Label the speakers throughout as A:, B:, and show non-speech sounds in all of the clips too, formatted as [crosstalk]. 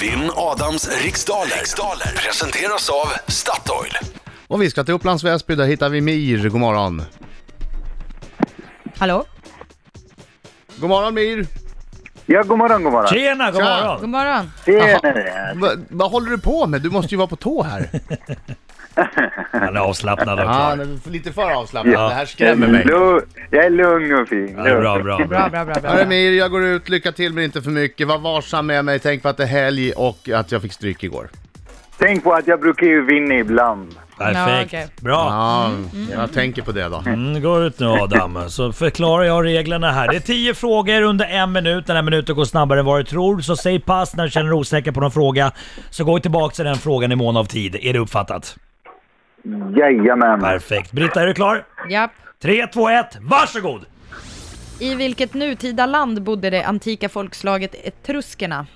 A: Vinn Adams riksdaler. riksdaler presenteras av Statoil.
B: Och vi ska till Upplands Väsby, där hittar vi Mir. God morgon.
C: Hallå?
B: God morgon Mir!
D: Ja, god morgon, god morgon.
E: Tjena, god
B: Tja.
C: God
E: morgon!
C: morgon.
D: Tjenare!
B: Va, vad håller du på med? Du måste ju vara på tå
E: [laughs]
B: här.
E: Han är avslappnad
B: Ja,
E: och klar.
B: han är lite för avslappnad.
E: Ja.
B: Det här skrämmer mig.
D: Lu- Jag är lugn och fin.
E: Ja, det är bra, bra,
C: Bra,
E: bra.
C: bra, bra.
B: Hörru
C: bra.
B: Mir, jag går ut. Lycka till men inte för mycket. Var varsam med mig. Tänk på att det är helg och att jag fick stryk igår.
D: Tänk på att jag brukar ju vinna ibland.
C: Ja, okej.
E: Perfekt. Bra.
B: Ja, jag tänker på det då.
E: Mm, går ut nu [laughs] Adam, så förklarar jag reglerna här. Det är tio frågor under en minut. Den här minuten går snabbare än vad du tror. Så säg pass när du känner dig osäker på någon fråga. Så gå tillbaka till den frågan i mån av tid. Är det uppfattat?
D: Jajamän.
E: Perfekt. Britta, är du klar?
C: Japp.
E: Tre, två, ett, varsågod!
C: I vilket nutida land bodde det antika folkslaget etruskerna?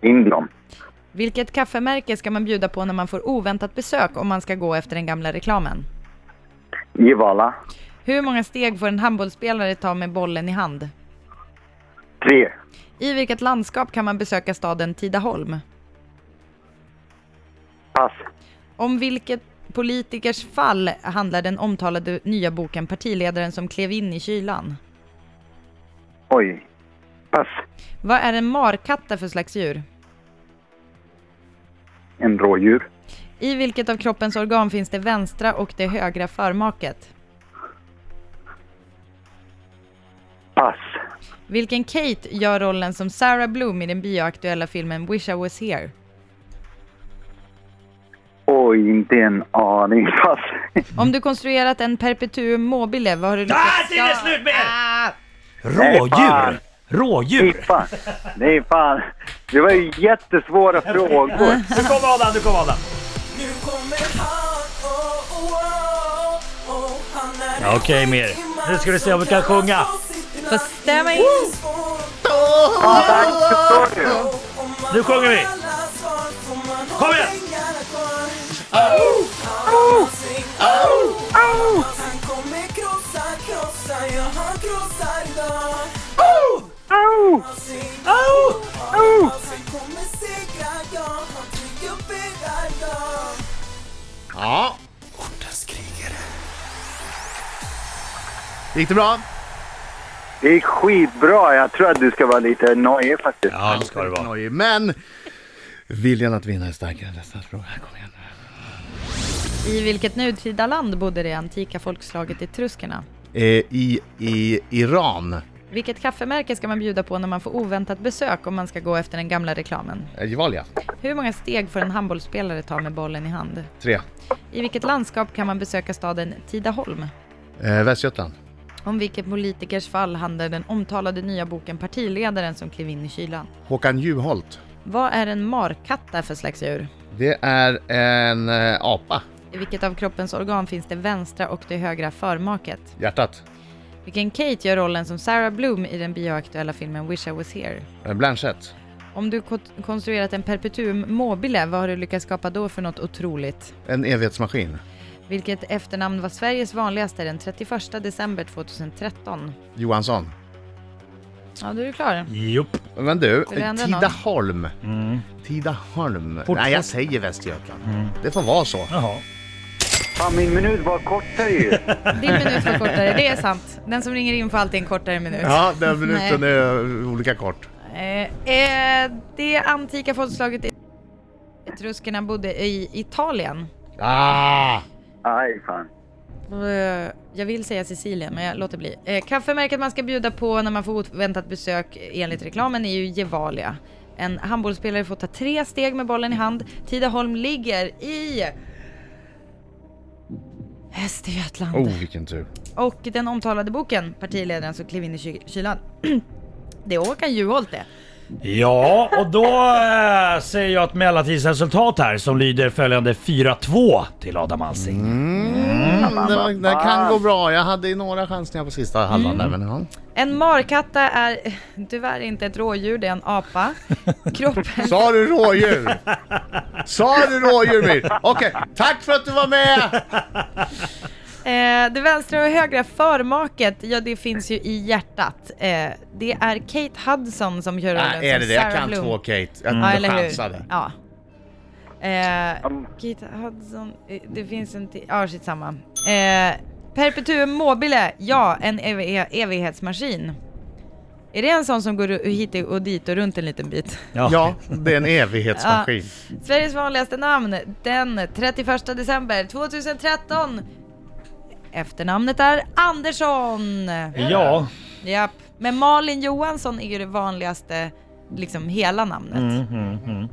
D: England.
C: Vilket kaffemärke ska man bjuda på när man får oväntat besök om man ska gå efter den gamla reklamen?
D: Givala.
C: Hur många steg får en handbollsspelare ta med bollen i hand?
D: Tre.
C: I vilket landskap kan man besöka staden Tidaholm?
D: Pass.
C: Om vilket politikers fall handlar den omtalade nya boken Partiledaren som klev in i kylan?
D: Oj. Pass.
C: Vad är en markatta för slags djur?
D: En rådjur.
C: I vilket av kroppens organ finns det vänstra och det högra förmaket?
D: Pass.
C: Vilken Kate gör rollen som Sarah Bloom i den bioaktuella filmen Wish I Was Here?
D: Oj, inte en aning. [laughs] Pass.
C: Om du konstruerat en perpetuum mobile, vad har du
E: Ah, tiden är
C: Ja.
E: slut med!
C: Ah!
D: Nej, fan.
E: Rådjur!
D: Nej,
E: Rådjur!
D: fan. Nej, fan. Det var ju jättesvåra frågor.
E: Nu kommer Adam, nu kommer Adam!
F: Nu kommer han, oh, oh, oh, oh, han är
E: Ja, okej, mer. Nu ska vi se om vi kan sjunga.
C: Så stämma in.
D: Ja, tack. Förstår du?
E: Nu sjunger vi. Kom igen!
F: Han kommer krossa, krossa, ja han krossar idag. Han kommer segra, ja han trygger upp er idag.
B: Ja,
A: Ortens krigare.
B: gick det bra?
D: Det är skitbra. Jag tror att du ska vara lite nojig faktiskt.
E: Ja, det ska det vara.
B: Oj, men viljan att vinna är starkare än nästa fråga. Kom igen.
C: I vilket nutida land bodde det antika folkslaget etruskerna?
B: Eh, I, i Iran.
C: Vilket kaffemärke ska man bjuda på när man får oväntat besök om man ska gå efter den gamla reklamen?
B: Eh, Gevalia.
C: Hur många steg får en handbollsspelare ta med bollen i hand?
B: Tre.
C: I vilket landskap kan man besöka staden Tidaholm?
B: Eh, Västgötland.
C: Om vilket politikers fall handlar den omtalade nya boken Partiledaren som klev in i kylan?
B: Håkan Juholt.
C: Vad är en markatta för slags djur?
B: Det är en eh, apa.
C: I vilket av kroppens organ finns det vänstra och det högra förmaket?
B: Hjärtat.
C: Vilken Kate gör rollen som Sarah Bloom i den bioaktuella filmen Wish I Was Here?
B: Eh, Blanchett.
C: Om du kot- konstruerat en perpetuum mobile, vad har du lyckats skapa då för något otroligt?
B: En evighetsmaskin.
C: Vilket efternamn var Sveriges vanligaste den 31 december 2013?
B: Johansson.
C: Ja, då är du klar.
E: Jupp.
B: Men du,
C: Förändra någon.
B: Tidaholm. Tidaholm. Nej, jag säger Västergötland. Det får vara så.
E: Jaha.
D: Fan, min minut var kortare
E: [laughs]
D: ju.
C: Din minut var kortare, det är sant. Den som ringer in får alltid en kortare minut.
B: Ja, den minuten är eh, olika kort.
C: Eh, eh, det antika folkslaget i- etruskerna bodde i Italien.
B: Ah!
D: Aj, fan.
C: Eh, Jag vill säga Sicilien, men jag låter bli. Eh, kaffemärket man ska bjuda på när man får oväntat besök eh, enligt reklamen är ju Gevalia. En handbollsspelare får ta tre steg med bollen i hand. Tidaholm ligger i Västergötland.
B: Oh, vilken tur.
C: Och den omtalade boken, Partiledaren som klev in i ky- kylan. [clears throat] det är Håkan Juholt det.
E: Ja, och då eh, säger jag ett mellantidsresultat här som lyder följande 4-2 till Adam Alsing.
B: Mm, det, var- det här kan gå bra. Jag hade ju några chansningar på sista halvan
C: Mm.
B: där, men ja.
C: En markatta är eh, tyvärr inte ett rådjur, det är en apa. Kroppen...
B: Sa du rådjur? Sa du rådjur Mir? Okej, tack för att du var med!
C: Eh, det vänstra och högra förmaket, ja det finns ju i hjärtat. Eh, det är Kate Hudson som gör rollen
B: Nej, är det
C: som
B: det? Jag
C: Sarah
B: kan
C: Bloom.
B: två Kate. Jag
C: Ja,
B: mm.
C: eller hur?
B: chansade.
C: Ja. Eh,
D: Mm.
C: Kate Hudson, eh, det finns en till, ja shit samma. Eh, Perpetuum mobile, ja en ev evighetsmaskin. Är det en sån som går u- hit och dit och runt en liten bit?
B: Ja, det är en evighetsmaskin.
C: Sveriges vanligaste namn den 31 december 2013. Efternamnet är Andersson.
E: Ja.
C: Japp. Men Malin Johansson är ju det vanligaste, liksom hela namnet.
E: Mm, mm.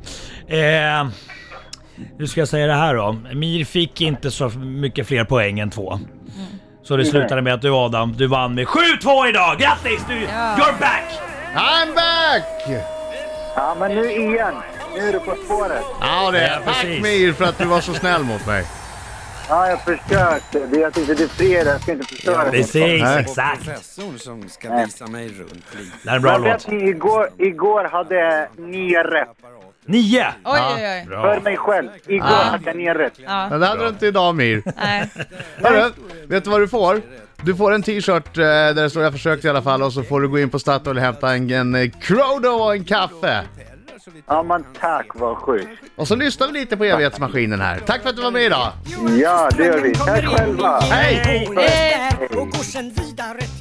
E: Eh, hur ska jag säga det här då? Mir fick inte så mycket fler poäng än två. Så det slutade med att du Adam, du vann med 7-2 idag! Grattis! Du, You're back!
B: I'm back!
D: Ja, men nu igen. Nu är du på spåret.
B: Ja, det är
E: Ja,
B: Tack
E: precis.
B: Mir för att du var så snäll mot mig.
D: Ja, jag försökte. Det är att inte det är fredag. Jag ska inte förstöra det.
E: Precis,
B: Nej.
E: exakt!
G: Professorn som ska visa mig runt lite.
E: Det här är en bra
D: Men vet
E: låt.
D: ni, igår, igår hade jag nio rätt.
E: Nio!
C: Oj, oj, oj.
E: Bra.
D: För mig själv. Igår
E: Ah.
D: hade jag nio rätt.
C: Ja,
B: Men det hade du inte idag Mir.
C: nej.
B: Hörru, vet du vad du får? Du får en t-shirt eh, där det står jag försökte i alla fall och så får du gå in på Statoil och hämta en, en eh, Crodo och en kaffe.
D: Ja, men tack vad sjukt.
B: Och så lyssnar vi lite på evighetsmaskinen här. Tack för att du var med idag!
D: Ja, det gör vi. Tack själva.
B: Hej!
C: Hej!
F: Och går sen vidare